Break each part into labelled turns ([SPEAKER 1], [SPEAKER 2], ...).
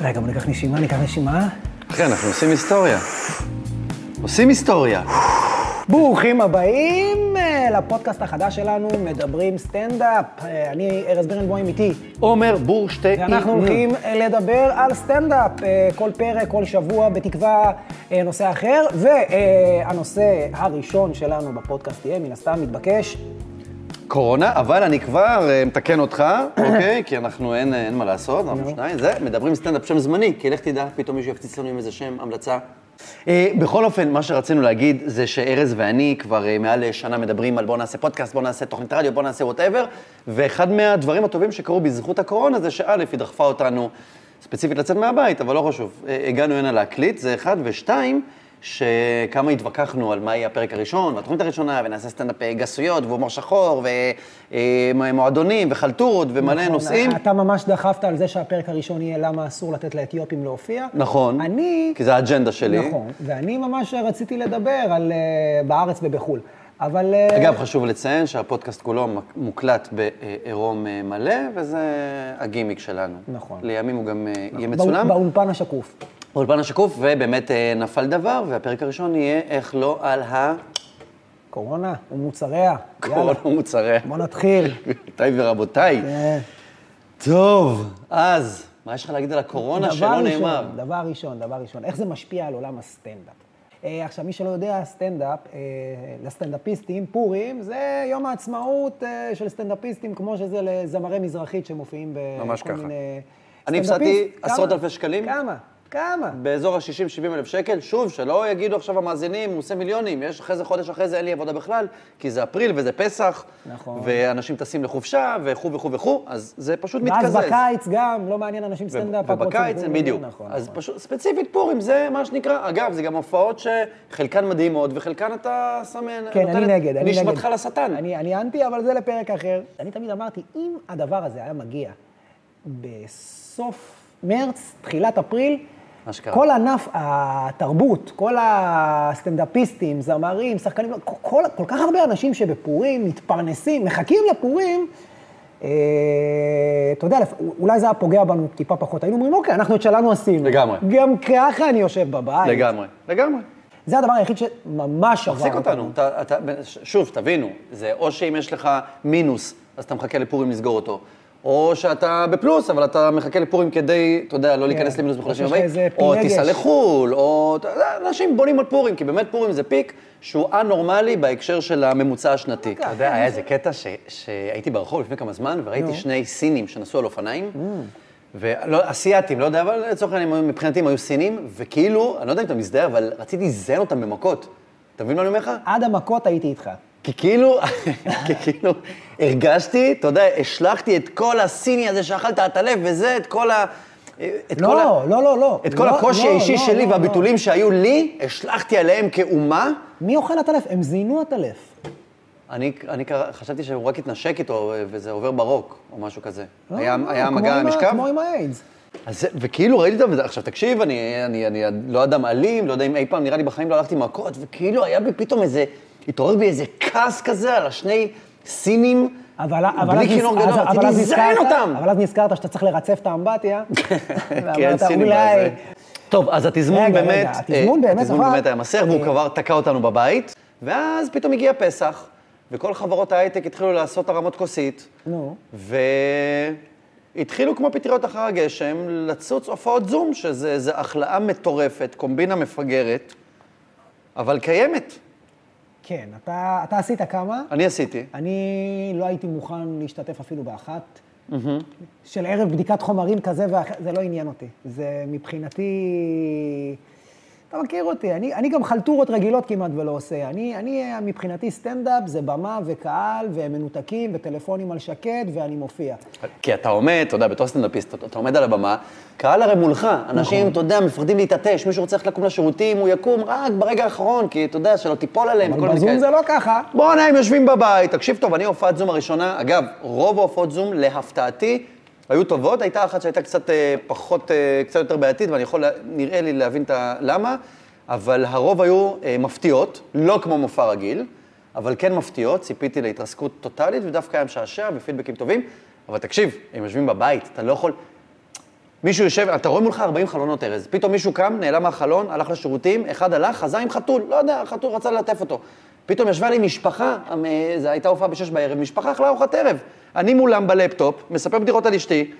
[SPEAKER 1] רגע, בוא ניקח נשימה, ניקח נשימה.
[SPEAKER 2] אחי, אנחנו עושים היסטוריה. עושים היסטוריה.
[SPEAKER 1] ברוכים הבאים אה, לפודקאסט החדש שלנו, מדברים סטנדאפ. אה, אני ארז בירנבוים איתי,
[SPEAKER 2] עומר בורשטיין. Mm.
[SPEAKER 1] ואנחנו הולכים אה, לדבר על סטנדאפ אה, כל פרק, כל שבוע, בתקווה אה, נושא אחר. והנושא הראשון שלנו בפודקאסט יהיה, מן הסתם, מתבקש,
[SPEAKER 2] קורונה, אבל אני כבר אה, מתקן אותך, אוקיי? כי אנחנו, אין, אין מה לעשות,
[SPEAKER 1] לא.
[SPEAKER 2] אנחנו שניים, זה, מדברים סטנדאפ שם זמני, כי לך תדע, פתאום מישהו יפציץ לנו עם איזה שם, המלצה. אה, בכל אופן, מה שרצינו להגיד זה שארז ואני כבר אה, מעל שנה מדברים על בוא נעשה פודקאסט, בוא נעשה תוכנית רדיו, בוא נעשה וואטאבר, ואחד מהדברים הטובים שקרו בזכות הקורונה זה שא', היא דחפה אותנו ספציפית לצאת מהבית, אבל לא חשוב. אה, הגענו הנה להקליט, זה אחד, ושתיים, שכמה התווכחנו על מה יהיה הפרק הראשון, והתוכנית הראשונה, ונעשה סטנדאפ אה, גסויות, והומור שחור, ומועדונים, וחלטורות,
[SPEAKER 1] נכון,
[SPEAKER 2] ומלא נושאים.
[SPEAKER 1] אתה ממש דחפת על זה שהפרק הראשון יהיה למה אסור לתת לאתיופים להופיע.
[SPEAKER 2] נכון.
[SPEAKER 1] אני...
[SPEAKER 2] כי זה האג'נדה שלי.
[SPEAKER 1] נכון, ואני ממש רציתי לדבר על אה, בארץ ובחו"ל. אבל... אה,
[SPEAKER 2] אגב, חשוב לציין שהפודקאסט כולו מק- מוקלט בעירום אה, מלא, וזה הגימיק שלנו.
[SPEAKER 1] נכון.
[SPEAKER 2] לימים הוא גם אה, יהיה
[SPEAKER 1] בא-
[SPEAKER 2] מצולם.
[SPEAKER 1] באולפן השקוף.
[SPEAKER 2] באולפן השקוף, ובאמת אה, נפל דבר, והפרק הראשון יהיה איך לא על
[SPEAKER 1] קורונה ומוצריה. יאללה,
[SPEAKER 2] הקורונה ומוצריה.
[SPEAKER 1] בוא נתחיל.
[SPEAKER 2] גבירותיי ורבותיי.
[SPEAKER 1] אה,
[SPEAKER 2] טוב, אז, מה יש לך להגיד על הקורונה
[SPEAKER 1] דבר
[SPEAKER 2] שלא
[SPEAKER 1] ראשון,
[SPEAKER 2] נאמר?
[SPEAKER 1] דבר ראשון, דבר ראשון. איך זה משפיע על עולם הסטנדאפ? אה, עכשיו, מי שלא יודע, סטנדאפ, אה, לסטנדאפיסטים, פורים, זה יום העצמאות אה, של סטנדאפיסטים, כמו שזה לזמרי מזרחית שמופיעים בכל
[SPEAKER 2] ממש ככה.
[SPEAKER 1] מיני...
[SPEAKER 2] אני הפסדתי
[SPEAKER 1] סטנדאפיסט,
[SPEAKER 2] עשרות
[SPEAKER 1] כמה?
[SPEAKER 2] אלפי שקלים.
[SPEAKER 1] כמה? כמה?
[SPEAKER 2] באזור ה-60-70 אלף שקל, שוב, שלא יגידו עכשיו המאזינים, הוא עושה מיליונים, יש אחרי זה חודש אחרי זה אין לי עבודה בכלל, כי זה אפריל וזה פסח,
[SPEAKER 1] נכון.
[SPEAKER 2] ואנשים טסים לחופשה, וכו' וכו' וכו', אז זה פשוט מתקזז.
[SPEAKER 1] ואז בקיץ גם, לא מעניין אנשים סטנדאפ. רק רוצים
[SPEAKER 2] ובקיץ,
[SPEAKER 1] פורים.
[SPEAKER 2] בדיוק.
[SPEAKER 1] נכון,
[SPEAKER 2] אז
[SPEAKER 1] נכון.
[SPEAKER 2] פשוט, ספציפית פורים, זה מה שנקרא. אגב, זה גם הופעות שחלקן מדהימות, וחלקן אתה סמן,
[SPEAKER 1] כן, אני
[SPEAKER 2] נותן את
[SPEAKER 1] נגד, אני נגד.
[SPEAKER 2] נשמתך לשטן.
[SPEAKER 1] אני, אני אנטי, אבל זה לפרק אחר. אני תמיד אמרתי, אם הדבר הזה היה מגיע בסוף מרץ, תחילת אפריל,
[SPEAKER 2] מה שקרה.
[SPEAKER 1] כל ענף התרבות, כל הסטנדאפיסטים, זמרים, שחקנים, כל, כל, כל כך הרבה אנשים שבפורים מתפרנסים, מחכים לפורים, אה, אתה יודע, לפ- אולי זה היה פוגע בנו טיפה פחות. היינו אומרים, אוקיי, אנחנו את שלנו עשינו.
[SPEAKER 2] לגמרי.
[SPEAKER 1] גם ככה אני יושב בבית.
[SPEAKER 2] לגמרי, לגמרי.
[SPEAKER 1] זה הדבר היחיד שממש עבר
[SPEAKER 2] תחזיק אותנו. אתה, אתה, ש- שוב, תבינו, זה או שאם יש לך מינוס, אז אתה מחכה לפורים לסגור אותו. או שאתה בפלוס, אבל אתה מחכה לפורים כדי, אתה יודע, לא להיכנס
[SPEAKER 1] כן.
[SPEAKER 2] למינוס
[SPEAKER 1] או
[SPEAKER 2] בחודשים
[SPEAKER 1] שיש
[SPEAKER 2] הבאים.
[SPEAKER 1] איזה
[SPEAKER 2] או
[SPEAKER 1] פי רגש.
[SPEAKER 2] תיסע לחו"ל, או... אתה יודע, אנשים בונים על פורים, כי באמת פורים זה פיק שהוא א-נורמלי בהקשר של הממוצע השנתי. אתה יודע, היה איזה קטע ש- שהייתי ברחוב לפני כמה זמן, וראיתי שני סינים שנסעו על אופניים. ואסייתים, לא יודע, אבל לצורך העניין, הם היו- מבחינתי הם היו סינים, וכאילו, אני לא יודע אם אתה מזדהה, אבל רציתי לזיין אותם במכות. אתה מבין מה אני אומר לך?
[SPEAKER 1] עד המכות הייתי איתך.
[SPEAKER 2] כי כאילו, כי כאילו, הרגשתי, אתה יודע, השלכתי את כל הסיני הזה שאכלת עטלף וזה, את כל ה... את כל ה...
[SPEAKER 1] לא, לא, לא, לא.
[SPEAKER 2] את כל
[SPEAKER 1] לא,
[SPEAKER 2] הקושי
[SPEAKER 1] לא,
[SPEAKER 2] האישי
[SPEAKER 1] לא,
[SPEAKER 2] שלי
[SPEAKER 1] לא,
[SPEAKER 2] והביטולים שהיו לי, השלכתי עליהם כאומה.
[SPEAKER 1] לא. מי אוכל עטלף? הם זיינו עטלף.
[SPEAKER 2] אני, אני קרא- חשבתי שהוא רק התנשק איתו וזה עובר ברוק, או משהו כזה.
[SPEAKER 1] לא,
[SPEAKER 2] היה,
[SPEAKER 1] לא,
[SPEAKER 2] היה
[SPEAKER 1] כמו
[SPEAKER 2] מגע
[SPEAKER 1] עם ה-
[SPEAKER 2] משכב?
[SPEAKER 1] כמו עם האיידס.
[SPEAKER 2] אז זה, וכאילו ראיתי אותם, עכשיו תקשיב, אני, אני, אני לא אדם אלים, לא יודע אם אי פעם, נראה לי בחיים לא הלכתי מכות, וכאילו היה בי פתאום איזה, התעורר בי איזה כעס כזה על השני סינים,
[SPEAKER 1] אבל, אבל,
[SPEAKER 2] בלי
[SPEAKER 1] אז נז-
[SPEAKER 2] כינור גדול,
[SPEAKER 1] אז- אבל
[SPEAKER 2] רציתי
[SPEAKER 1] אז
[SPEAKER 2] לזיין
[SPEAKER 1] נזכרת-
[SPEAKER 2] אותם.
[SPEAKER 1] אבל אז נזכרת שאתה צריך לרצף את האמבטיה.
[SPEAKER 2] כן,
[SPEAKER 1] ואמרת,
[SPEAKER 2] סינים.
[SPEAKER 1] אולי...
[SPEAKER 2] אז- טוב, אז התזמון
[SPEAKER 1] רגע, רגע,
[SPEAKER 2] באמת, אה,
[SPEAKER 1] התזמון באמת,
[SPEAKER 2] התזמון
[SPEAKER 1] אבל-
[SPEAKER 2] באמת היה מסר, והוא
[SPEAKER 1] אה,
[SPEAKER 2] כבר תקע אותנו בבית, ואז פתאום הגיע פסח, וכל חברות ההייטק התחילו לעשות הרמות כוסית,
[SPEAKER 1] נו.
[SPEAKER 2] והתחילו כמו פטריות אחר הגשם לצוץ הופעות זום, שזה זה החלאה מטורפת, קומבינה מפגרת, אבל קיימת.
[SPEAKER 1] כן, אתה, אתה עשית כמה?
[SPEAKER 2] אני עשיתי.
[SPEAKER 1] אני לא הייתי מוכן להשתתף אפילו באחת. של ערב בדיקת חומרים כזה ואחר, זה לא עניין אותי. זה מבחינתי... אתה מכיר אותי, אני, אני גם חלטורות רגילות כמעט ולא עושה. אני, אני אה, מבחינתי סטנדאפ זה במה וקהל ומנותקים וטלפונים על שקט ואני מופיע.
[SPEAKER 2] כי אתה עומד, אתה יודע, בתור סטנדאפיסט, אתה- אתה עומד על הבמה, קהל הרי מולך,
[SPEAKER 1] נכון.
[SPEAKER 2] אנשים, אתה יודע, מפחדים להתעטש, מישהו רוצה ללכת לקום לשירותים, הוא יקום רק ברגע האחרון, כי אתה יודע, שלא תיפול עליהם, כל מיני
[SPEAKER 1] אבל בזום
[SPEAKER 2] כאלה.
[SPEAKER 1] זה לא ככה.
[SPEAKER 2] בואנה, הם יושבים בבית. תקשיב טוב, אני הופעת זום הראשונה, אגב, רוב ההופעות זום, להפתעתי, היו טובות, הייתה אחת שהייתה קצת אה, פחות, אה, קצת יותר בעייתית, ואני יכול, לה- נראה לי, להבין את ה... למה, אבל הרוב היו אה, מפתיעות, לא כמו מופע רגיל, אבל כן מפתיעות, ציפיתי להתרסקות טוטאלית, ודווקא היה משעשע ופידבקים טובים, אבל תקשיב, הם יושבים בבית, אתה לא יכול... מישהו יושב, אתה רואה מולך 40 חלונות, ארז. פתאום מישהו קם, נעלם מהחלון, הלך לשירותים, אחד הלך, חזר עם חתול, לא יודע, החתול רצה ללטף אותו. פתאום ישבה לי משפחה, המ- זו הייתה הופעה בשש בערב, משפחה אכלה ארוחת ערב. אני מולם בלפטופ, מספר בדיחות על אשתי,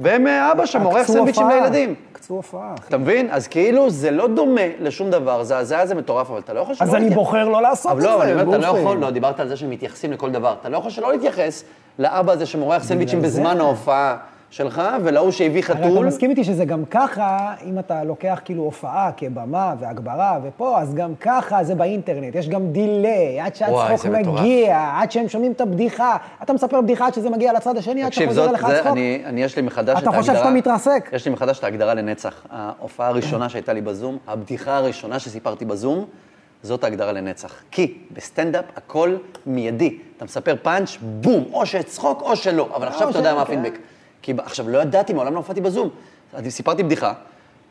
[SPEAKER 2] והם, אה, אבא שם עורך
[SPEAKER 1] עקצו
[SPEAKER 2] סנדוויצ'ים
[SPEAKER 1] הופעה.
[SPEAKER 2] לילדים.
[SPEAKER 1] עקצו הופעה, אחי.
[SPEAKER 2] אתה מבין? אז כאילו זה לא דומה לשום דבר, זה הזיה זה מטורף, אבל אתה לא יכול שלא...
[SPEAKER 1] אז אני
[SPEAKER 2] להתייחס.
[SPEAKER 1] בוחר לא לעשות את
[SPEAKER 2] אבל
[SPEAKER 1] זה,
[SPEAKER 2] לא, אבל אני אומר, אתה לא
[SPEAKER 1] גופי.
[SPEAKER 2] יכול, לא, דיברת על זה שמתייחסים לכל דבר. אתה לא יכול שלא להתייחס לאבא הזה שמורח סנדוויצ'ים
[SPEAKER 1] בגלל זה.
[SPEAKER 2] בזמן ההופעה שלך, ולהוא שהביא
[SPEAKER 1] הרי אתה
[SPEAKER 2] חתול.
[SPEAKER 1] מסכים איתי שזה גם ככה, אם אתה לוקח כאילו הופעה כבמה והגברה ופה, אז גם ככה זה באינטרנט. יש גם דיליי, עד
[SPEAKER 2] וואי,
[SPEAKER 1] שהצחוק
[SPEAKER 2] זה מטורף.
[SPEAKER 1] מגיע, עד שהם שומעים את הבדיחה. אתה מספר בדיחה עד שזה מגיע לצד השני, עד
[SPEAKER 2] תקשיב,
[SPEAKER 1] שחוזר
[SPEAKER 2] זאת,
[SPEAKER 1] אליך
[SPEAKER 2] זה,
[SPEAKER 1] הצחוק.
[SPEAKER 2] אני, אני, יש לי מחדש את
[SPEAKER 1] אתה
[SPEAKER 2] ההגדרה...
[SPEAKER 1] חושב שאתה מתרסק?
[SPEAKER 2] יש לי מחדש את ההגדרה לנצח. ההופעה הראשונה שהייתה לי בזום, הבדיחה הראשונה שסיפרתי בזום, זאת ההגדרה לנצח. כי בסטנדאפ הכל מיידי. אתה מספר פאנץ', בום, או שאצחוק או שלא. אבל עכשיו אתה יודע
[SPEAKER 1] שלא,
[SPEAKER 2] מה
[SPEAKER 1] כן.
[SPEAKER 2] הפידבק. כי ב- עכשיו, לא ידעתי, מעולם לא הופעתי בזום. אז סיפרתי בדיחה,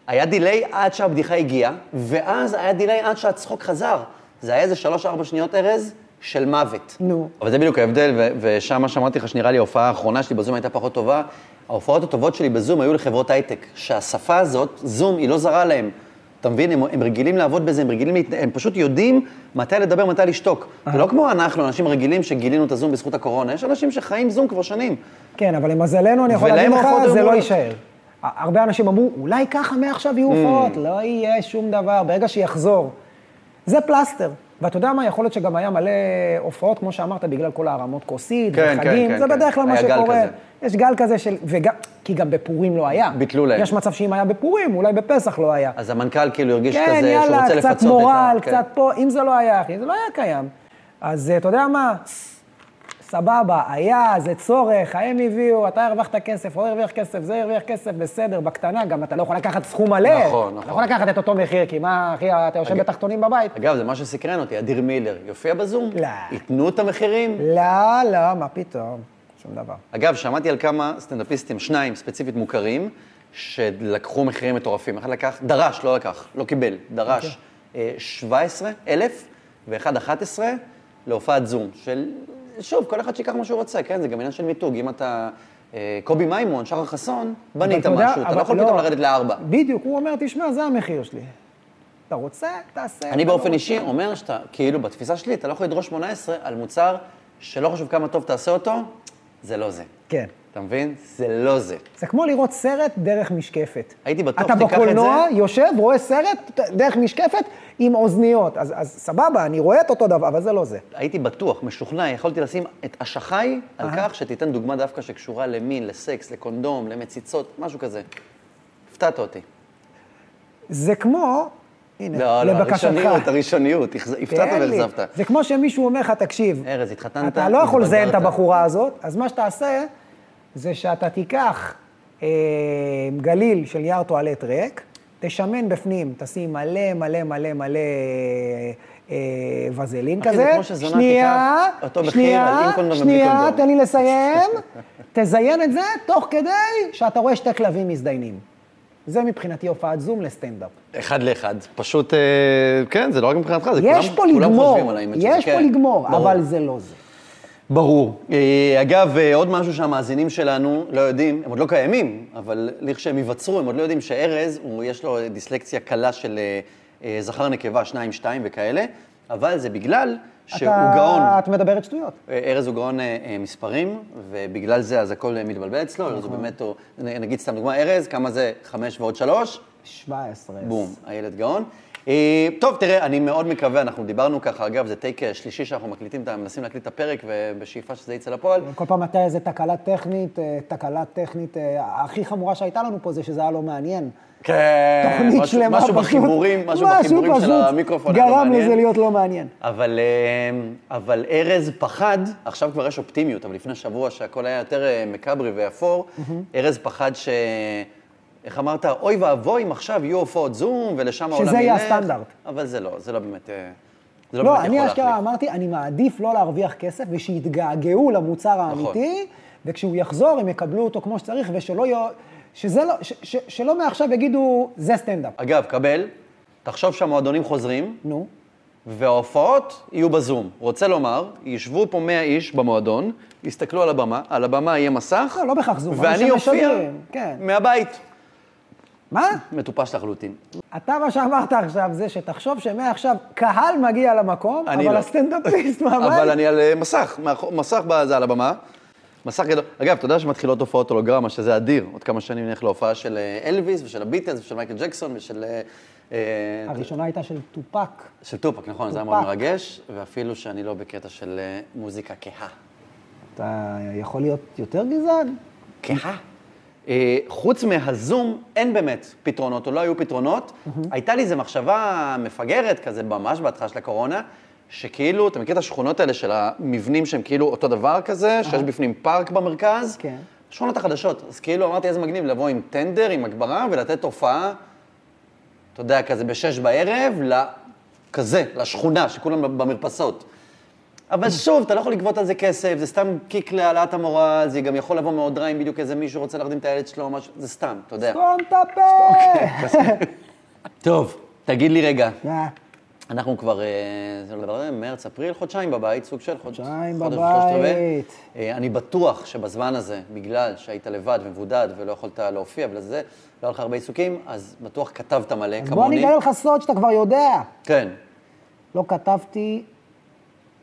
[SPEAKER 2] היה דיליי עד שהבדיחה הגיעה, ואז היה דיליי עד שהצחוק חזר. זה היה איזה שלוש-ארבע שניות, ארז, של מוות.
[SPEAKER 1] נו.
[SPEAKER 2] אבל זה בדיוק ההבדל, ו- ושם מה שאמרתי לך, שנראה לי ההופעה האחרונה שלי בזום הייתה פחות טובה. ההופעות הטובות שלי בזום היו לחברות הייטק, שהשפה הזאת, זום, היא לא זרה להם. אתה מבין? הם, הם רגילים לעבוד בזה, הם רגילים, להת- הם פשוט יודעים מתי לדבר, מתי לשתוק. זה לא כמו אנחנו, אנשים רגילים שגילינו את הזום בזכות הקורונה, יש אנשים שחיים זום כבר שנים.
[SPEAKER 1] כן, אבל למזלנו, אני יכול
[SPEAKER 2] ולהם
[SPEAKER 1] להגיד לך,
[SPEAKER 2] ההופעות היו
[SPEAKER 1] זה לא
[SPEAKER 2] מעולות.
[SPEAKER 1] יישאר. ה- הרבה אנשים אמרו, אולי ככה מעכשיו
[SPEAKER 2] Mm.
[SPEAKER 1] יהיו הופעות, לא יהיה שום דבר, ברגע שיחזור. זה פלסטר. ואתה יודע מה, יכול להיות שגם היה מלא הופעות, כמו שאמרת, בגלל כל הרמות כוסית,
[SPEAKER 2] כן,
[SPEAKER 1] וחגים,
[SPEAKER 2] כן,
[SPEAKER 1] זה
[SPEAKER 2] כן,
[SPEAKER 1] בדרך כלל
[SPEAKER 2] כן.
[SPEAKER 1] מה
[SPEAKER 2] היה גל
[SPEAKER 1] שקורה.
[SPEAKER 2] כזה.
[SPEAKER 1] יש גל כזה של... וגם, כי גם בפורים לא היה.
[SPEAKER 2] ביטלו להם.
[SPEAKER 1] יש מצב שאם היה בפורים, אולי בפסח לא היה.
[SPEAKER 2] אז המנכ"ל כאילו הרגיש
[SPEAKER 1] כן,
[SPEAKER 2] כזה שהוא
[SPEAKER 1] יאללה,
[SPEAKER 2] רוצה לפצות את ה...
[SPEAKER 1] קצת מורל,
[SPEAKER 2] כן.
[SPEAKER 1] קצת פה, אם זה לא היה, אחי, זה לא היה קיים. אז אה, אתה יודע מה? סבבה, היה, זה צורך, הם הביאו, אתה הרווחת כסף, הוא הרוויח כסף, זה הרוויח כסף, בסדר, בקטנה, גם אתה לא יכול לקחת סכום מלא.
[SPEAKER 2] נכון,
[SPEAKER 1] אתה
[SPEAKER 2] נכון.
[SPEAKER 1] לא יכול לקחת את אותו מחיר, כי מה, אחי, אתה יושב
[SPEAKER 2] אגב-
[SPEAKER 1] בתחתונים בבית.
[SPEAKER 2] אגב, זה מה שסקרן אותי, אדיר מילר, יופיע בזום?
[SPEAKER 1] לא.
[SPEAKER 2] ייתנו את המחירים?
[SPEAKER 1] לא, לא, מה פתאום, שום דבר.
[SPEAKER 2] אגב, שמעתי על כמה סטנדאפיסטים, שניים ספציפית מוכרים, שלקחו מחירים מטורפים. אחד לקח, דרש, לא לקח, לא קיבל, דרש
[SPEAKER 1] אוקיי.
[SPEAKER 2] אה, 17 אלף, ואחד 11 להופעת זום. של, שוב, כל אחד שיקח מה שהוא רוצה, כן? זה גם עניין של מיתוג. אם אתה אה, קובי מימון, שחר חסון,
[SPEAKER 1] אבל
[SPEAKER 2] בנית
[SPEAKER 1] יודע-
[SPEAKER 2] משהו, אתה
[SPEAKER 1] אבל
[SPEAKER 2] לא יכול פתאום לרדת לארבע.
[SPEAKER 1] בדיוק, הוא אומר, תשמע, זה המחיר שלי. אתה רוצה, תעשה.
[SPEAKER 2] אני
[SPEAKER 1] אתה לא
[SPEAKER 2] באופן
[SPEAKER 1] רוצה,
[SPEAKER 2] אישי אומר שאתה, כאילו, בתפיסה שלי, אתה לא יכול לדרוש 18 על מוצר שלא חשוב כמה טוב תעשה אותו, זה לא זה.
[SPEAKER 1] כן.
[SPEAKER 2] אתה מבין? זה לא זה.
[SPEAKER 1] זה כמו לראות סרט דרך משקפת.
[SPEAKER 2] הייתי בטוח
[SPEAKER 1] אתה
[SPEAKER 2] שתיקח את זה.
[SPEAKER 1] בקולנוע, יושב, רואה סרט דרך משקפת עם אוזניות. אז, אז סבבה, אני רואה את אותו דבר, אבל זה לא זה.
[SPEAKER 2] הייתי בטוח, משוכנע, יכולתי לשים את אשחי על
[SPEAKER 1] אהה.
[SPEAKER 2] כך שתיתן דוגמה דווקא שקשורה למין, לסקס, לקונדום, למציצות, משהו כזה. הפתעת אותי.
[SPEAKER 1] זה כמו, הנה,
[SPEAKER 2] לא, לא,
[SPEAKER 1] לבקשתך.
[SPEAKER 2] הראשוניות, הראשוניות, אכז- הפתעת
[SPEAKER 1] תן לי.
[SPEAKER 2] ואכזבת.
[SPEAKER 1] זה כמו שמישהו אומר לך, תקשיב,
[SPEAKER 2] ארז, התחתנת,
[SPEAKER 1] אתה לא יכול לזיין את
[SPEAKER 2] התבגרת."
[SPEAKER 1] הבחורה הזאת, אז מה שתעשה, זה שאתה תיקח אה, גליל של נייר טואלט ריק, תשמן בפנים, תשים מלא מלא מלא מלא אה, וזלין
[SPEAKER 2] אחי, זה
[SPEAKER 1] כזה.
[SPEAKER 2] כמו שזונה
[SPEAKER 1] שנייה,
[SPEAKER 2] תיקח אותו מחיר
[SPEAKER 1] שנייה,
[SPEAKER 2] על עם קונדום ובלי
[SPEAKER 1] שנייה,
[SPEAKER 2] קונדום.
[SPEAKER 1] תן לי לסיים. תזיין את זה תוך כדי שאתה רואה שתי כלבים מזדיינים. זה מבחינתי הופעת זום לסטנדאפ.
[SPEAKER 2] אחד לאחד. פשוט, אה, כן, זה לא רק מבחינתך, זה
[SPEAKER 1] יש פה לגמור, יש פה לגמור,
[SPEAKER 2] כן. ברור.
[SPEAKER 1] אבל זה לא זה.
[SPEAKER 2] ברור. אה, אגב, אה, עוד משהו שהמאזינים שלנו לא יודעים, הם עוד לא קיימים, אבל לכשהם ייווצרו, הם עוד לא יודעים שארז, הוא, יש לו אה, דיסלקציה קלה של אה, אה, זכר נקבה, שניים, שתיים וכאלה, אבל זה בגלל שהוא
[SPEAKER 1] אתה-
[SPEAKER 2] גאון.
[SPEAKER 1] את מדברת שטויות.
[SPEAKER 2] אה, ארז הוא גאון אה, אה, מספרים, ובגלל זה אז הכל אה, מתבלבל אצלו, ארז הוא באמת, הוא- נ- נגיד סתם דוגמה, ארז, כמה זה? חמש ועוד שלוש?
[SPEAKER 1] 17.
[SPEAKER 2] בום, הילד גאון. אה, טוב, תראה, אני מאוד מקווה, אנחנו דיברנו ככה, אגב, זה טייק אה, שלישי שאנחנו מקליטים, את ה- מנסים להקליט את הפרק, ובשאיפה שזה יצא לפועל.
[SPEAKER 1] כל פעם הייתה איזו תקלה טכנית, אה, תקלה טכנית, אה, הכי חמורה שהייתה לנו פה זה שזה היה לא מעניין.
[SPEAKER 2] כן,
[SPEAKER 1] תוכנית
[SPEAKER 2] משהו-
[SPEAKER 1] שלמה
[SPEAKER 2] משהו
[SPEAKER 1] פשוט-
[SPEAKER 2] בחיבורים, משהו בחיבורים של
[SPEAKER 1] פשוט
[SPEAKER 2] המיקרופון. היה לא
[SPEAKER 1] גרם
[SPEAKER 2] מעניין.
[SPEAKER 1] לזה להיות לא מעניין.
[SPEAKER 2] אבל, אה, אבל ארז פחד, עכשיו כבר יש אופטימיות, אבל לפני שבוע שהכל היה יותר אה, מקאברי ואפור, ארז פחד ש... איך אמרת? אוי ואבוי אם עכשיו יהיו הופעות זום, ולשם העולם ילך.
[SPEAKER 1] שזה יהיה הסטנדרט.
[SPEAKER 2] אבל זה לא, זה לא באמת... אה, זה לא,
[SPEAKER 1] לא,
[SPEAKER 2] באמת
[SPEAKER 1] אני
[SPEAKER 2] יכול
[SPEAKER 1] אשכרה
[SPEAKER 2] להחליף.
[SPEAKER 1] אמרתי, אני מעדיף לא להרוויח כסף ושיתגעגעו למוצר
[SPEAKER 2] נכון.
[SPEAKER 1] האמיתי, וכשהוא יחזור הם יקבלו אותו כמו שצריך, ושלא יהיה... שזה לא, ש, ש, שלא מעכשיו יגידו, זה סטנדאפ.
[SPEAKER 2] אגב, קבל, תחשוב שהמועדונים חוזרים,
[SPEAKER 1] נו,
[SPEAKER 2] וההופעות יהיו בזום. רוצה לומר, ישבו פה 100 איש במועדון, יסתכלו על הבמה, על הבמה יהיה מסך.
[SPEAKER 1] לא, לא בהכרח זום, אבל
[SPEAKER 2] ואני אופיע
[SPEAKER 1] שמשדרים, כן.
[SPEAKER 2] מהבית.
[SPEAKER 1] מה?
[SPEAKER 2] מטופש לחלוטין.
[SPEAKER 1] אתה, מה שאמרת עכשיו, זה שתחשוב שמעכשיו קהל מגיע למקום,
[SPEAKER 2] אני
[SPEAKER 1] אבל
[SPEAKER 2] לא.
[SPEAKER 1] הסטנדאפיסט מהבית...
[SPEAKER 2] אבל אני על אה, מסך, מאחור- מסך ב- זה על הבמה. מסך גדול. אגב, אתה יודע שמתחילות הופעות הולוגרמה, שזה אדיר. עוד כמה שנים נלך להופעה של אה, אלוויס ושל הביטלס ושל מייקל ג'קסון ושל... אה, אה,
[SPEAKER 1] הראשונה הייתה של טופק.
[SPEAKER 2] של טופק, נכון, זה היה
[SPEAKER 1] טופק.
[SPEAKER 2] מאוד מרגש, ואפילו שאני לא בקטע של אה, מוזיקה כהה.
[SPEAKER 1] אתה יכול להיות יותר גזען?
[SPEAKER 2] כהה. אה, חוץ מהזום, אין באמת פתרונות, או לא היו פתרונות. הייתה לי איזו מחשבה מפגרת כזה, ממש בהתחלה של הקורונה, שכאילו, אתה מכיר את השכונות האלה של המבנים שהם כאילו אותו דבר כזה, שיש בפנים פארק במרכז?
[SPEAKER 1] כן.
[SPEAKER 2] שכונות החדשות. אז כאילו אמרתי, איזה מגניב לבוא עם טנדר, עם הגברה, ולתת הופעה, אתה יודע, כזה בשש בערב, ל- כזה, לשכונה, שכולם במרפסות. אבל שוב, אתה לא יכול לגבות על זה כסף, זה סתם קיק להעלאת המורל, זה גם יכול לבוא מאוד רע אם בדיוק איזה מישהו רוצה להרדים את הילד שלו או משהו, זה סתם, אתה יודע.
[SPEAKER 1] סתום את
[SPEAKER 2] אוקיי.
[SPEAKER 1] הפה!
[SPEAKER 2] טוב, תגיד לי רגע,
[SPEAKER 1] מה?
[SPEAKER 2] אנחנו כבר, אה, זה לא דבר, מרץ, אפריל, חודשיים בבית, סוג של חודש,
[SPEAKER 1] חודשיים
[SPEAKER 2] חודש ושלושת רבעי.
[SPEAKER 1] בבית.
[SPEAKER 2] אה, אני בטוח שבזמן הזה, בגלל שהיית לבד ומבודד ולא יכולת להופיע ולזה, לא היה לך הרבה עיסוקים, אז בטוח כתבת מלא,
[SPEAKER 1] אז בוא אני
[SPEAKER 2] כמוני.
[SPEAKER 1] אגלה לך סוד שאתה כבר יודע.
[SPEAKER 2] כן.
[SPEAKER 1] לא כתבתי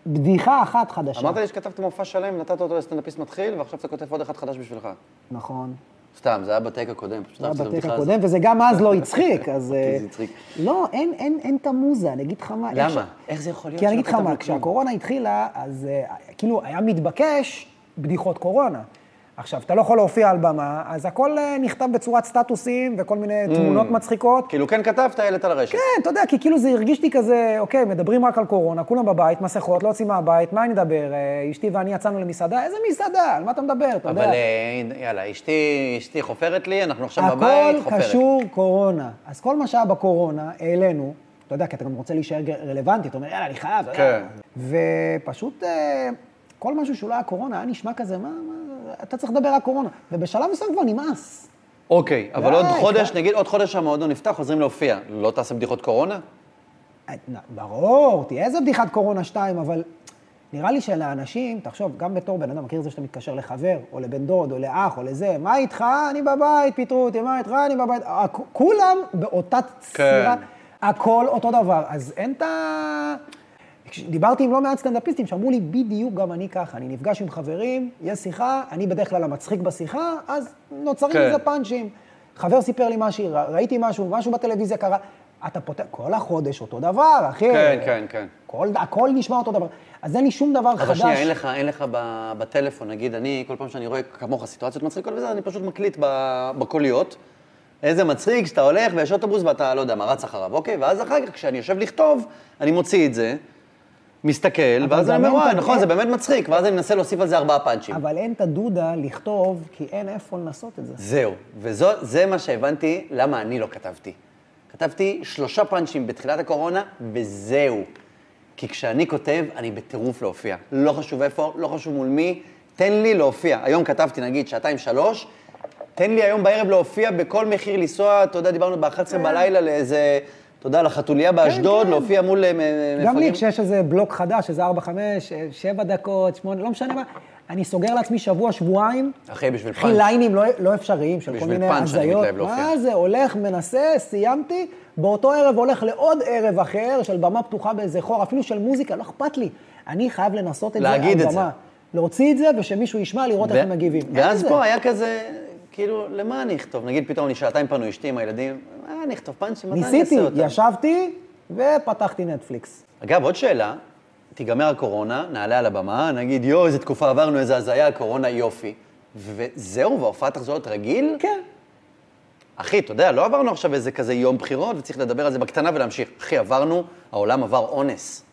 [SPEAKER 1] בדיחה אחת חדשה.
[SPEAKER 2] אמרת לי שכתבת מופע שלם, נתת אותו לסטנדאפיסט מתחיל, ועכשיו אתה כותב עוד אחד חדש בשבילך.
[SPEAKER 1] נכון.
[SPEAKER 2] סתם, זה היה בטייק הקודם, פשוט
[SPEAKER 1] זה היה
[SPEAKER 2] אהבתי את
[SPEAKER 1] בטק
[SPEAKER 2] הבדיחה הזאת.
[SPEAKER 1] הקודם, וזה גם אז לא הצחיק, אז...
[SPEAKER 2] אוקיי, זה
[SPEAKER 1] אה,
[SPEAKER 2] הצחיק.
[SPEAKER 1] לא, אין- אין אין את המוזה, אני אגיד לך מה... איך
[SPEAKER 2] למה?
[SPEAKER 1] ש-
[SPEAKER 2] איך זה יכול להיות?
[SPEAKER 1] כי אני
[SPEAKER 2] שלא
[SPEAKER 1] אגיד לך מה,
[SPEAKER 2] כתבנו כלום?
[SPEAKER 1] כשהקורונה התחילה, אז אה, כאילו היה מתבקש בדיחות קורונה. עכשיו, אתה לא יכול להופיע על במה, אז הכל אה, נכתב בצורת סטטוסים וכל מיני
[SPEAKER 2] Mm.
[SPEAKER 1] תמונות מצחיקות.
[SPEAKER 2] כאילו, כן כתבת, העלית לרשת.
[SPEAKER 1] כן, אתה יודע, כי כאילו זה הרגיש לי כזה, אוקיי, מדברים רק על קורונה, כולם בבית, מסכות, לא יוצאים מהבית, מה אני אדבר? אה, אשתי ואני יצאנו למסעדה, איזה מסעדה? על מה אתה מדבר? אתה יודע.
[SPEAKER 2] אבל אה, יאללה, אשתי אשתי חופרת לי, אנחנו עכשיו
[SPEAKER 1] הכל
[SPEAKER 2] בבית, חופרת.
[SPEAKER 1] קשור קורונה. אז כל מה שהיה בקורונה, העלינו, אתה יודע, כי אתה גם רוצה להישאר ג- רלוונטי, אתה אומר, יאללה, אני חייב, אתה יודע.
[SPEAKER 2] כן.
[SPEAKER 1] ופשוט אה, כל משהו שהוא לא היה קורונה, היה נשמע כזה, מה, מה, אתה צריך לדבר רק קורונה. ובשלב מסוים כבר נמאס.
[SPEAKER 2] אוקיי, אבל
[SPEAKER 1] די,
[SPEAKER 2] עוד חודש,
[SPEAKER 1] כן.
[SPEAKER 2] נגיד עוד חודש המועדון נפתח, חוזרים להופיע. לא תעשה בדיחות קורונה?
[SPEAKER 1] אה, נ- ברור, תהיה איזה בדיחת קורונה שתיים, אבל נראה לי שלאנשים, תחשוב, גם בתור בן אדם, מכיר את זה שאתה מתקשר לחבר, או לבן דוד, או לאח, או לזה, מה איתך? אני בבית, פיטרו אותי, מה איתך? אני בבית. הכ- כולם באותה סירה, הכל אותו דבר. אז אין את ה... כש- דיברתי עם לא מעט סטנדאפיסטים שאמרו לי, בדיוק גם אני ככה, אני נפגש עם חברים, יש שיחה, אני בדרך כלל המצחיק בשיחה, אז נוצרים
[SPEAKER 2] כן.
[SPEAKER 1] מזה פאנצ'ים. חבר סיפר לי משהו, ר- ראיתי משהו, משהו בטלוויזיה קרה. אתה פותח, כל החודש אותו דבר, אחי.
[SPEAKER 2] כן, כן, כן.
[SPEAKER 1] כל, הכל נשמע אותו דבר. אז אין לי שום דבר חדש.
[SPEAKER 2] אבל שנייה, אין לך, אין לך ב- בטלפון, נגיד, אני, כל פעם שאני רואה כמוך סיטואציות מצחיקות וזה, אני פשוט מקליט ב- בקוליות. איזה מצחיק שאתה הולך ויש אוטובוס ואתה, לא יודע, מה, רץ אחריו, אוקיי? ואז אחר כך, כשאני יושב לכתוב, אני מוציא את זה, מסתכל, ואז
[SPEAKER 1] גם לא
[SPEAKER 2] אני אומר,
[SPEAKER 1] אין
[SPEAKER 2] וואי,
[SPEAKER 1] את-
[SPEAKER 2] נכון, זה באמת מצחיק, ואז אני מנסה להוסיף על זה ארבעה פאנצ'ים.
[SPEAKER 1] אבל אין את הדודה לכתוב, כי אין איפה לנסות את זה.
[SPEAKER 2] זהו, וזה מה שהבנתי למה אני לא כתבתי. כתבתי שלושה פאנצ'ים בתחילת הקורונה, וזהו. כי כשאני כותב, אני בטירוף להופיע. לא חשוב איפה, לא חשוב מול מי, תן לי להופיע. היום כתבתי, נגיד, שעתיים, שלוש, תן לי היום בערב להופיע בכל מחיר לנסוע, אתה יודע, דיברנו ב-11 בלילה לאיזה, אתה יודע, לחתוליה באשדוד,
[SPEAKER 1] כן.
[SPEAKER 2] להופיע מול אה, מ- מפגעים.
[SPEAKER 1] גם לי, כשיש איזה בלוק חדש, איזה 4, 5, 7 דקות, 8, לא משנה מה, אני סוגר לעצמי שבוע, שבועיים,
[SPEAKER 2] אחי, בשביל
[SPEAKER 1] קחי
[SPEAKER 2] פאנץ'.
[SPEAKER 1] ליינים לא, לא אפשריים של כל
[SPEAKER 2] בשביל
[SPEAKER 1] מיני
[SPEAKER 2] פאנץ' אני
[SPEAKER 1] הזיות.
[SPEAKER 2] מתלהב להופיע.
[SPEAKER 1] מה זה, הולך, מנסה, סיימתי, באותו ערב הולך לעוד ערב אחר של במה פתוחה באיזה חור, אפילו של מוזיקה, לא אכפת לי. אני חייב לנסות את
[SPEAKER 2] להגיד
[SPEAKER 1] זה
[SPEAKER 2] את
[SPEAKER 1] על
[SPEAKER 2] זה.
[SPEAKER 1] במה. להוציא את זה ושמישהו ישמע, לראות איך
[SPEAKER 2] ו-
[SPEAKER 1] הם מגיבים. אין
[SPEAKER 2] ואז
[SPEAKER 1] זה.
[SPEAKER 2] פה היה כזה, כאילו, למה אני אכתוב? נגיד פתאום אני שעתיים פנוי אשתי עם הילדים, אה, אני אכתוב פאנצ'ים, מתי אני
[SPEAKER 1] ניסיתי,
[SPEAKER 2] אעשה אותם?
[SPEAKER 1] ישבתי ופתחתי נטפליקס.
[SPEAKER 2] אגב, עוד שאלה, תיגמר הקורונה, נעלה על הבמה, נגיד, יואו, איזה תקופה עברנו, איזה הזיה, הקורונה יופי. וזהו, וההופעה תחזור להיות רגיל?
[SPEAKER 1] כן.
[SPEAKER 2] אחי, אתה יודע, לא עברנו עכשיו איזה כזה יום בחירות, וצריך לדבר על זה בקטנה ולהמשיך. אחי, עברנו, העולם עבר אונס.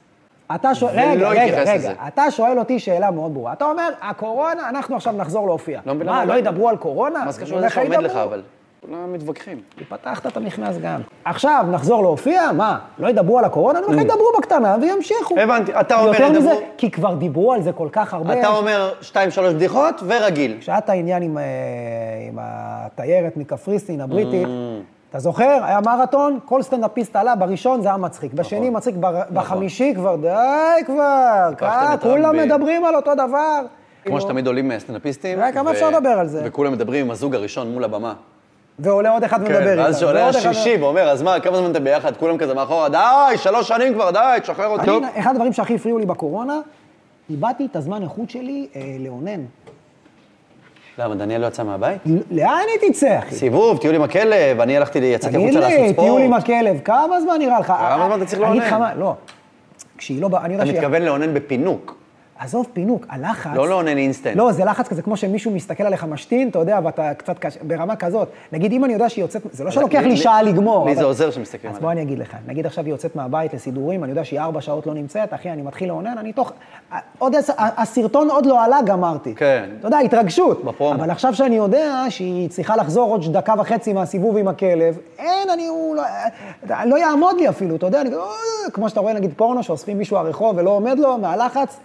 [SPEAKER 1] אתה שואל,
[SPEAKER 2] ולא
[SPEAKER 1] רגע, רגע,
[SPEAKER 2] התייחס
[SPEAKER 1] רגע,
[SPEAKER 2] לזה.
[SPEAKER 1] אתה שואל אותי שאלה מאוד ברורה. אתה אומר, הקורונה, אנחנו עכשיו נחזור להופיע.
[SPEAKER 2] לא מבין
[SPEAKER 1] מה,
[SPEAKER 2] למה-
[SPEAKER 1] לא ידברו על קורונה?
[SPEAKER 2] מה זה קשור
[SPEAKER 1] אני
[SPEAKER 2] לזה
[SPEAKER 1] אומר
[SPEAKER 2] שעומד לך,
[SPEAKER 1] ידברו.
[SPEAKER 2] אבל? כולם מתווכחים.
[SPEAKER 1] כי פתחת את המכנס גם. עכשיו נחזור להופיע, מה, לא ידברו על הקורונה? אני אומר לך, ידברו בקטנה וימשיכו.
[SPEAKER 2] Mm. הבנתי, אתה אומר,
[SPEAKER 1] יותר מזה,
[SPEAKER 2] ידברו.
[SPEAKER 1] כי כבר דיברו על זה כל כך הרבה.
[SPEAKER 2] אתה אומר שתיים, שלוש בדיחות, ורגיל.
[SPEAKER 1] כשהיה את העניין עם, אה, עם התיירת מקפריסין הבריטית,
[SPEAKER 2] Mm.
[SPEAKER 1] אתה זוכר? היה מרתון, כל סטנדאפיסט עלה, בראשון זה היה מצחיק,
[SPEAKER 2] נכון.
[SPEAKER 1] בשני מצחיק, בר- בחמישי כבר, די כבר, אה,
[SPEAKER 2] לקחתם את
[SPEAKER 1] כולם
[SPEAKER 2] רבין.
[SPEAKER 1] מדברים על אותו דבר.
[SPEAKER 2] כמו שתמיד עולים אה, סטנדאפיסטים.
[SPEAKER 1] רק כאילו- אה, כמה
[SPEAKER 2] ו-
[SPEAKER 1] אפשר לדבר על זה?
[SPEAKER 2] וכולם מדברים עם הזוג הראשון מול הבמה.
[SPEAKER 1] ועולה עוד אחד ומדבר איתם.
[SPEAKER 2] כן, ואז שעולה
[SPEAKER 1] ועוד אחד-
[SPEAKER 2] השישי ואומר, אז מה, כמה זמן אתם ביחד? כולם כזה מאחורה, די, שלוש שנים כבר, די, תשחרר אותי.
[SPEAKER 1] אני, אחד הדברים שהכי הפריעו לי בקורונה, איבדתי את הזמן איכות שלי אה, לאונן.
[SPEAKER 2] למה, דניאל לא יצא מהבית?
[SPEAKER 1] לאן היא תצא, אחי?
[SPEAKER 2] סיבוב, טיול עם הכלב, אני הלכתי, יצאתי
[SPEAKER 1] תגיד
[SPEAKER 2] החוצה לעשות
[SPEAKER 1] לי,
[SPEAKER 2] ספורט.
[SPEAKER 1] טיול עם הכלב, כמה זמן נראה לך? אה,
[SPEAKER 2] כמה זמן אתה צריך
[SPEAKER 1] אני אגיד לך
[SPEAKER 2] לאונן?
[SPEAKER 1] מה, לא. כשהיא לא באה, אני יודע
[SPEAKER 2] אתה
[SPEAKER 1] שהיא...
[SPEAKER 2] מתכוון לאונן בפינוק,
[SPEAKER 1] עזוב פינוק, הלחץ...
[SPEAKER 2] לא לאונן אינסטנט.
[SPEAKER 1] אה, לא, זה לחץ כזה, כמו שמישהו מסתכל עליך משתין, אתה יודע, ואתה קצת קשה, ברמה כזאת. נגיד, אם אני יודע שהיא יוצאת, זה לא שלוקח
[SPEAKER 2] לי-
[SPEAKER 1] לי שעה לגמור.
[SPEAKER 2] לי זה
[SPEAKER 1] אבל-
[SPEAKER 2] עוזר שמסתכלים
[SPEAKER 1] אז
[SPEAKER 2] עליי.
[SPEAKER 1] בוא אני אגיד לך, נגיד עכשיו היא יוצאת מהבית לסידורים, אני יודע שהיא ארבע שעות לא נמצאת, אחי, אני מתחיל לאונן, אני תוך... עוד עשר, הסרטון עוד לא עלה, גמרתי.
[SPEAKER 2] כן.
[SPEAKER 1] אתה יודע, התרגשות.
[SPEAKER 2] בפרומו.
[SPEAKER 1] אבל עכשיו שאני יודע שהיא צריכה לחזור עוד דקה וחצי מהסיבוב עם הכלב, אין, אני, הוא לא... לא יעמוד לי אפילו, אתה יודע, אני... כזה, "אה", כמו שאתה רואה, נגיד, פורנו, שאוספים מישהו הרחוב ולא עומד לו, מהלחץ.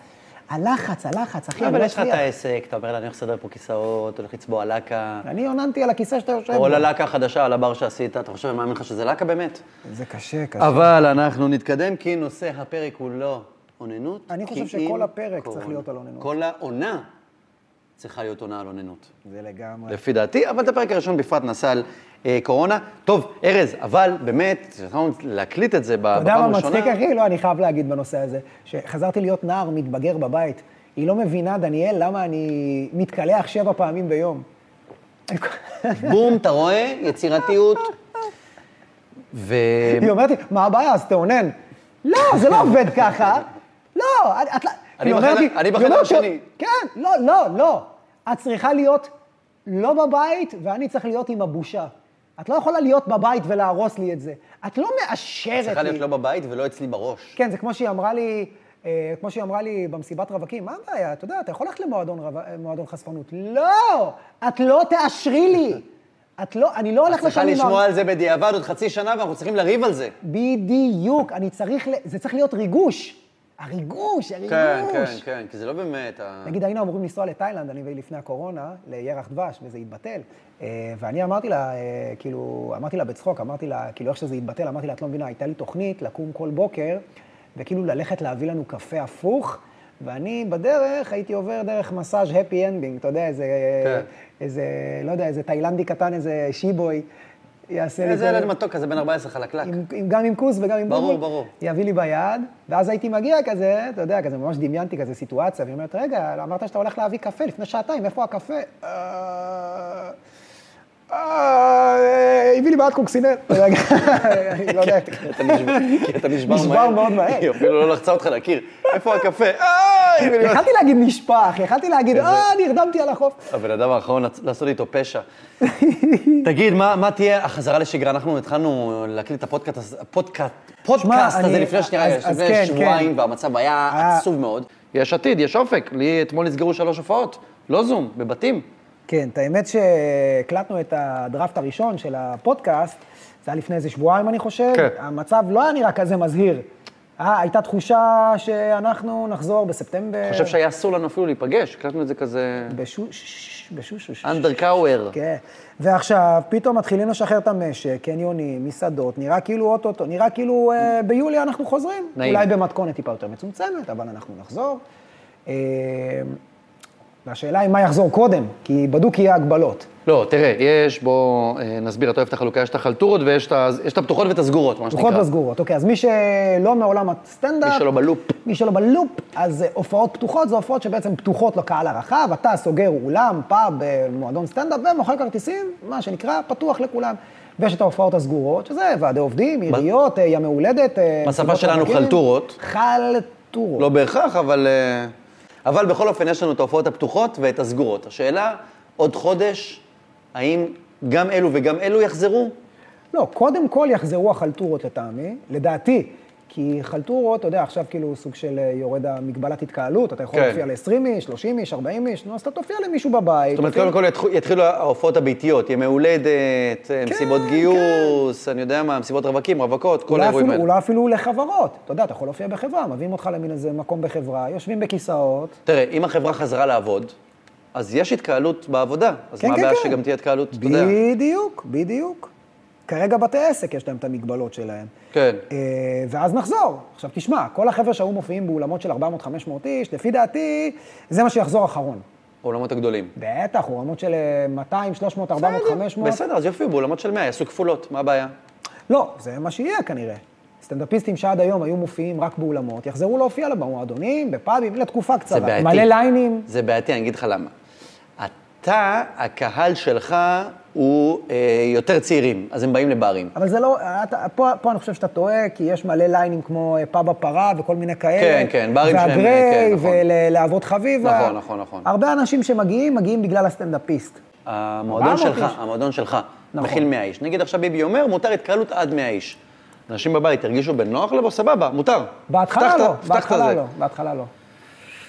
[SPEAKER 1] הלחץ, הלחץ, אחי, אני
[SPEAKER 2] אבל
[SPEAKER 1] לא
[SPEAKER 2] יש לך את
[SPEAKER 1] אצליח.
[SPEAKER 2] העסק, אתה אומר לה, אני הולך לסדר פה כיסאות, הולך לצבוע לקה,
[SPEAKER 1] אני עוננתי על הכיסא שאתה יושב
[SPEAKER 2] או
[SPEAKER 1] בו.
[SPEAKER 2] ללקה החדשה על הבר שעשית, אתה חושב, אני מאמין לך שזה לקה באמת?
[SPEAKER 1] זה קשה, קשה.
[SPEAKER 2] אבל אנחנו נתקדם, כי נושא הפרק הוא לא אוננות.
[SPEAKER 1] אני חושב
[SPEAKER 2] כי
[SPEAKER 1] שכל
[SPEAKER 2] אם
[SPEAKER 1] הפרק
[SPEAKER 2] קורונה.
[SPEAKER 1] צריך להיות על אוננות.
[SPEAKER 2] כל העונה צריכה להיות עונה על אוננות.
[SPEAKER 1] זה לגמרי.
[SPEAKER 2] לפי דעתי, אבל את הפרק הראשון בפרט נעשה על אה, קורונה. טוב, ארז, אבל באמת, צריכים להקליט את זה ב- בפעם
[SPEAKER 1] אתה יודע
[SPEAKER 2] הראשונה.
[SPEAKER 1] מה מצחיק, אחי? לא, אני חייב להגיד בנושא הזה, שחזרתי להיות נער מתבגר בבית. היא לא מבינה, דניאל, למה אני מתקלח שבע פעמים ביום.
[SPEAKER 2] בום, אתה רואה? יצירתיות. ו...
[SPEAKER 1] היא אומרת לי, מה הבעיה, אז תאונן. לא, זה לא עובד ככה. לא, את- את...
[SPEAKER 2] אני
[SPEAKER 1] היא אומרת לי-
[SPEAKER 2] בחדר- אני
[SPEAKER 1] היא
[SPEAKER 2] בחדר
[SPEAKER 1] אומרת לי,
[SPEAKER 2] השני.
[SPEAKER 1] כן, לא, לא, לא. את צריכה להיות לא בבית, ואני צריך להיות עם הבושה. את לא יכולה להיות בבית ולהרוס לי את זה. את לא מאשרת לי.
[SPEAKER 2] צריכה להיות לא בבית ולא אצלי בראש.
[SPEAKER 1] כן, זה כמו שהיא אמרה לי, אה, כמו שהיא אמרה לי במסיבת רווקים, מה הבעיה? אתה יודע, אתה יכול ללכת למועדון רב- אה, מועדון חשפנות. לא! את לא תאשרי לי. את לא, אני לא הולך לשם
[SPEAKER 2] צריכה
[SPEAKER 1] עם
[SPEAKER 2] לשמוע על זה בדיעבד עוד חצי שנה, ואנחנו צריכים לריב על זה.
[SPEAKER 1] בדיוק, אני צריך, ל- זה צריך להיות ריגוש. הריגוש, הריגוש.
[SPEAKER 2] כן, כן, כן, כי זה לא באמת... ה-
[SPEAKER 1] נגיד, היינו אמורים לנסוע לתאילנד, אני והיא לפני הקורונה, לירח דבש, וזה התבטל. אה, ואני אמרתי לה, אה, כאילו, אמרתי לה בצחוק, אמרתי לה, כאילו, איך שזה התבטל, אמרתי לה, את לא מבינה, הייתה לי תוכנית לקום כל בוקר, וכאילו ללכת להביא לנו קפה הפוך, ואני בדרך הייתי עובר דרך מסאז' הפי אנדינג, אתה יודע, איזה,
[SPEAKER 2] כן.
[SPEAKER 1] איזה, לא יודע, איזה תאילנדי קטן, איזה שיבוי, יעשה לי...
[SPEAKER 2] איזה
[SPEAKER 1] כל-
[SPEAKER 2] ילד מתוק כזה, בן 14 חלקלק.
[SPEAKER 1] עם, עם, גם עם כוס וגם עם
[SPEAKER 2] ברור,
[SPEAKER 1] בובו,
[SPEAKER 2] ברור.
[SPEAKER 1] יביא לי ביד, ואז הייתי מגיע כזה, אתה יודע, כזה, ממש דמיינתי כזה סיטואציה, והיא אומרת, רגע, אמרת שאתה הולך להביא קפה לפני שעתיים, איפה הקפה? "אה, אה, הביא לי בעד קוקסינט, אתה יודע, אני לא יודע.
[SPEAKER 2] כן, אתה נשבר- כי אתה נשבר מהר.
[SPEAKER 1] נשבר מאוד מהר.
[SPEAKER 2] היא אפילו לא לחצה אותך לקיר. איפה הקפה? איי, בדיוק.
[SPEAKER 1] יכלתי להגיד נשפע, אחי, יכלתי להגיד,
[SPEAKER 2] כן,
[SPEAKER 1] אה, נרדמתי על החוף.
[SPEAKER 2] הבן אדם האחרון לעצ- לעשות איתו פשע. תגיד, מה מה תהיה החזרה לשגרה? אנחנו התחלנו להקליט את הפודקאסט הזה- הפודקאסט פודקאסט הזה
[SPEAKER 1] אני-
[SPEAKER 2] לפני שנייה,
[SPEAKER 1] אז- אז
[SPEAKER 2] לפני
[SPEAKER 1] כן,
[SPEAKER 2] שבועיים,
[SPEAKER 1] כן.
[SPEAKER 2] והמצב היה
[SPEAKER 1] היה-
[SPEAKER 2] עצוב מאוד. יש עתיד, יש אופק. לי אתמול נסגרו שלוש הופעות. לא זום, בבתים.
[SPEAKER 1] כן, את האמת שהקלטנו את הדראפט הראשון של הפודקאסט, זה היה לפני איזה שבועיים, אני חושב.
[SPEAKER 2] כן.
[SPEAKER 1] המצב לא היה נראה כזה מזהיר. אה, הייתה תחושה שאנחנו נחזור בספטמבר.
[SPEAKER 2] חושב שהיה אסור לנו אפילו להיפגש, הקלטנו את זה כזה...
[SPEAKER 1] בשוש, בשוש, בשוש.
[SPEAKER 2] אנדר קאוור.
[SPEAKER 1] כן. ועכשיו, פתאום מתחילים לשחרר את המשק, קניונים, מסעדות, נראה כאילו אוטוטו, נראה כאילו אה, ביולי אנחנו חוזרים.
[SPEAKER 2] נעים.
[SPEAKER 1] אולי במתכונת טיפה יותר מצומצמת, אבל אנחנו נחזור. אה, והשאלה היא מה יחזור קודם, כי בדוק יהיה הגבלות.
[SPEAKER 2] לא, תראה, יש, בוא אה, נסביר, אתה אוהב את החלוקה, יש את החלטורות ויש את ה- יש את הפתוחות ואת הסגורות, מה שנקרא.
[SPEAKER 1] פתוחות וסגורות, אוקיי, אז מי שלא מעולם הסטנדאפ,
[SPEAKER 2] מי שלא בלופ.
[SPEAKER 1] מי שלא בלופ, אז אה, הופעות פתוחות זה הופעות שבעצם פתוחות לקהל הרחב, אתה סוגר אולם, פאב, אה, מועדון סטנדאפ ומוכר כרטיסים, מה שנקרא, פתוח לכולם. ויש את ההופעות הסגורות, שזה ועדי עובדים, עיריות, אה, ימי הולדת. אה,
[SPEAKER 2] בשפה
[SPEAKER 1] מסיבות
[SPEAKER 2] שלנו
[SPEAKER 1] חוגגים.
[SPEAKER 2] חלטורות.
[SPEAKER 1] חלטורות.
[SPEAKER 2] לא בהכרח, אבל... אה, אבל בכל אופן, יש לנו את ההופעות הפתוחות ואת הסגורות. השאלה, עוד חודש, האם גם אלו וגם אלו יחזרו?
[SPEAKER 1] לא, קודם כל יחזרו החלטורות לטעמי, לדעתי. כי חלטורות, אתה יודע, עכשיו כאילו סוג של אה, יורד המגבלת התקהלות, אתה יכול
[SPEAKER 2] כן.
[SPEAKER 1] להופיע ל-20 איש, 30 איש, 40 איש, נו, אז אתה תופיע למישהו בבית.
[SPEAKER 2] זאת אומרת,
[SPEAKER 1] תופיע-
[SPEAKER 2] קודם כל יתחו- יתחילו ההופעות הביתיות, ימי הולדת,
[SPEAKER 1] כן,
[SPEAKER 2] אה, מסיבות גיוס, אני יודע מה, מסיבות רווקים, רווקות, כל
[SPEAKER 1] אולי
[SPEAKER 2] האירועים
[SPEAKER 1] אפילו-
[SPEAKER 2] האלה.
[SPEAKER 1] אולי אפילו לחברות. אתה יודע, אתה יכול להופיע בחברה, מביאים אותך למין איזה מקום בחברה, יושבים בכיסאות.
[SPEAKER 2] תראה, אם החברה חזרה לעבוד, אז יש התקהלות בעבודה. אז מה הבעיה שגם תהיה התקהלות, אתה יודע?
[SPEAKER 1] כן, בדיוק, בדיוק. כרגע בתי עסק יש להם את המגבלות שלהם.
[SPEAKER 2] כן.
[SPEAKER 1] אה, ואז נחזור. עכשיו תשמע, כל החבר'ה שהיו מופיעים באולמות של 400-500 איש, לפי דעתי, זה מה שיחזור אחרון.
[SPEAKER 2] העולמות הגדולים.
[SPEAKER 1] בטח, עולמות של אה, 200, 300, 400, 500.
[SPEAKER 2] בסדר, אז יופיעו בעולמות של 100, יעשו כפולות, מה הבעיה?
[SPEAKER 1] לא, זה מה שיהיה כנראה. סטנדאפיסטים שעד היום היו מופיעים רק באולמות, יחזרו להופיע במועדונים, בפאבים, לתקופה קצרה.
[SPEAKER 2] זה בעייתי.
[SPEAKER 1] מלא ליינים.
[SPEAKER 2] זה בעייתי, אני אגיד לך למה. אתה, הקהל שלך הוא אה, יותר צעירים, אז הם באים לברים.
[SPEAKER 1] אבל זה לא, אתה, פה, פה אני חושב שאתה טועה, כי יש מלא ליינים כמו אה, פאב הפרה וכל מיני כאלה.
[SPEAKER 2] כן, כן, ברים שהם-
[SPEAKER 1] והגריי,
[SPEAKER 2] כן, נכון.
[SPEAKER 1] ולהבות חביבה.
[SPEAKER 2] נכון, נכון, נכון.
[SPEAKER 1] הרבה אנשים שמגיעים, מגיעים בגלל הסטנדאפיסט.
[SPEAKER 2] המועדון
[SPEAKER 1] 400
[SPEAKER 2] שלך,
[SPEAKER 1] איש.
[SPEAKER 2] המועדון שלך,
[SPEAKER 1] נכון.
[SPEAKER 2] מכיל 100 איש. נגיד עכשיו ביבי אומר, מותר התקהלות עד 100 איש. אנשים בבית הרגישו בנוח לבוא, סבבה, מותר.
[SPEAKER 1] בהתחלה
[SPEAKER 2] הבטחת-
[SPEAKER 1] לא,
[SPEAKER 2] הבטחת
[SPEAKER 1] בהתחלה
[SPEAKER 2] זה.
[SPEAKER 1] לא, בהתחלה לא.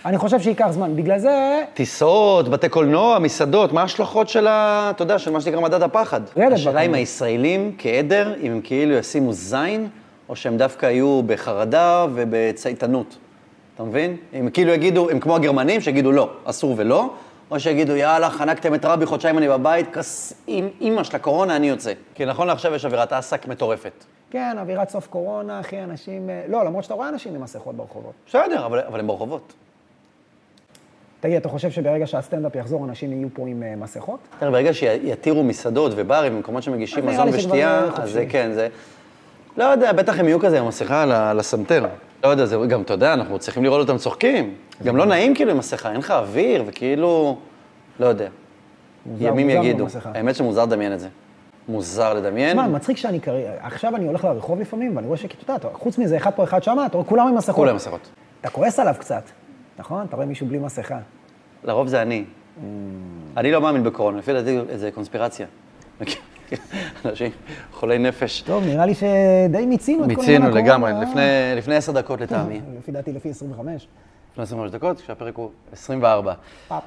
[SPEAKER 1] אני חושב שייקח זמן. בגלל זה,
[SPEAKER 2] טיסות, בתי קולנוע, מסעדות, מה ההשלכות של ה... אתה יודע, של מה שנקרא מדד הפחד.
[SPEAKER 1] רדת
[SPEAKER 2] השאלה אם
[SPEAKER 1] בכמות.
[SPEAKER 2] הישראלים כעדר, אם הם כאילו ישימו זין, או שהם דווקא יהיו בחרדה ובצייתנות. אתה מבין? הם כאילו יגידו, הם כמו הגרמנים שיגידו לא, אסור ולא, או שיגידו, יאללה, חנקתם את רבי, חודשיים אני בבית, כס... עם אימא של הקורונה אני יוצא. כי נכון לעכשיו יש אווירת עסק מטורפת.
[SPEAKER 1] כן, אווירת סוף קורונה, אחי, אנשים... אה, לא, למרות שאתה רואה אנשים עם מסכות ברחובות.
[SPEAKER 2] בסדר, אבל, אבל הם ברחובות.
[SPEAKER 1] תגיד, אתה חושב שברגע שהסטנדאפ יחזור, אנשים יהיו פה עם אה, מסכות?
[SPEAKER 2] תראה, ברגע שיתירו מסעדות וברים במקומות שמגישים
[SPEAKER 1] אז נראה
[SPEAKER 2] מזון
[SPEAKER 1] לי שכבר
[SPEAKER 2] ושתייה,
[SPEAKER 1] יהיה חופשי.
[SPEAKER 2] אז זה כן, זה... לא יודע, בטח הם יהיו כזה עם מסכה על ה- על הסנטר. לא יודע, זה גם, אתה יודע, אנחנו צריכים לראות אותם צוחקים. גם לא נעים כאילו עם מסכה, אין לך אוויר, וכאילו... לא יודע.
[SPEAKER 1] מוזר-
[SPEAKER 2] ימים
[SPEAKER 1] מוזר
[SPEAKER 2] יגידו.
[SPEAKER 1] במסכה.
[SPEAKER 2] האמת שמוזר לדמיין את זה. מוזר לדמיין.
[SPEAKER 1] מה, מצחיק שאני כרגע... עכשיו אני הולך לרחוב לפעמים, ואני רואה שכאילו, אתה יודע, חוץ מזה, אחד פה, אחד שמה, אתה רואה כולם עם מסכות.
[SPEAKER 2] כולם מסכות.
[SPEAKER 1] אתה כועס עליו קצת, נכון? אתה רואה מישהו בלי מסכה.
[SPEAKER 2] לרוב זה אני.
[SPEAKER 1] Mm.
[SPEAKER 2] אני לא מאמין בקורונה, לפי דעתי זה קונספירציה. אנשים חולי נפש.
[SPEAKER 1] טוב, נראה לי שדי מיצינו את כל עניין
[SPEAKER 2] מיצינו
[SPEAKER 1] הקורונה,
[SPEAKER 2] לגמרי,
[SPEAKER 1] אה?
[SPEAKER 2] לפני- לפני עשר דקות לטעמי.
[SPEAKER 1] לפי דעתי, לפי 25.
[SPEAKER 2] 25 דקות, כשהפרק הוא 24.
[SPEAKER 1] פאפ.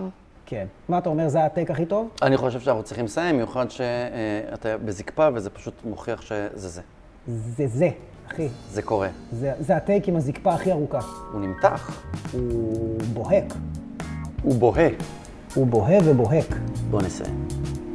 [SPEAKER 1] כן. מה אתה אומר, זה הטייק הכי טוב?
[SPEAKER 2] אני חושב שאנחנו צריכים לסיים, במיוחד שאתה בזקפה וזה פשוט מוכיח שזה זה.
[SPEAKER 1] זה זה, אחי.
[SPEAKER 2] זה קורה.
[SPEAKER 1] זה, זה הטייק עם הזקפה הכי ארוכה.
[SPEAKER 2] הוא נמתח,
[SPEAKER 1] הוא בוהק.
[SPEAKER 2] הוא בוהה.
[SPEAKER 1] הוא בוהה ובוהק.
[SPEAKER 2] בוא נסיים.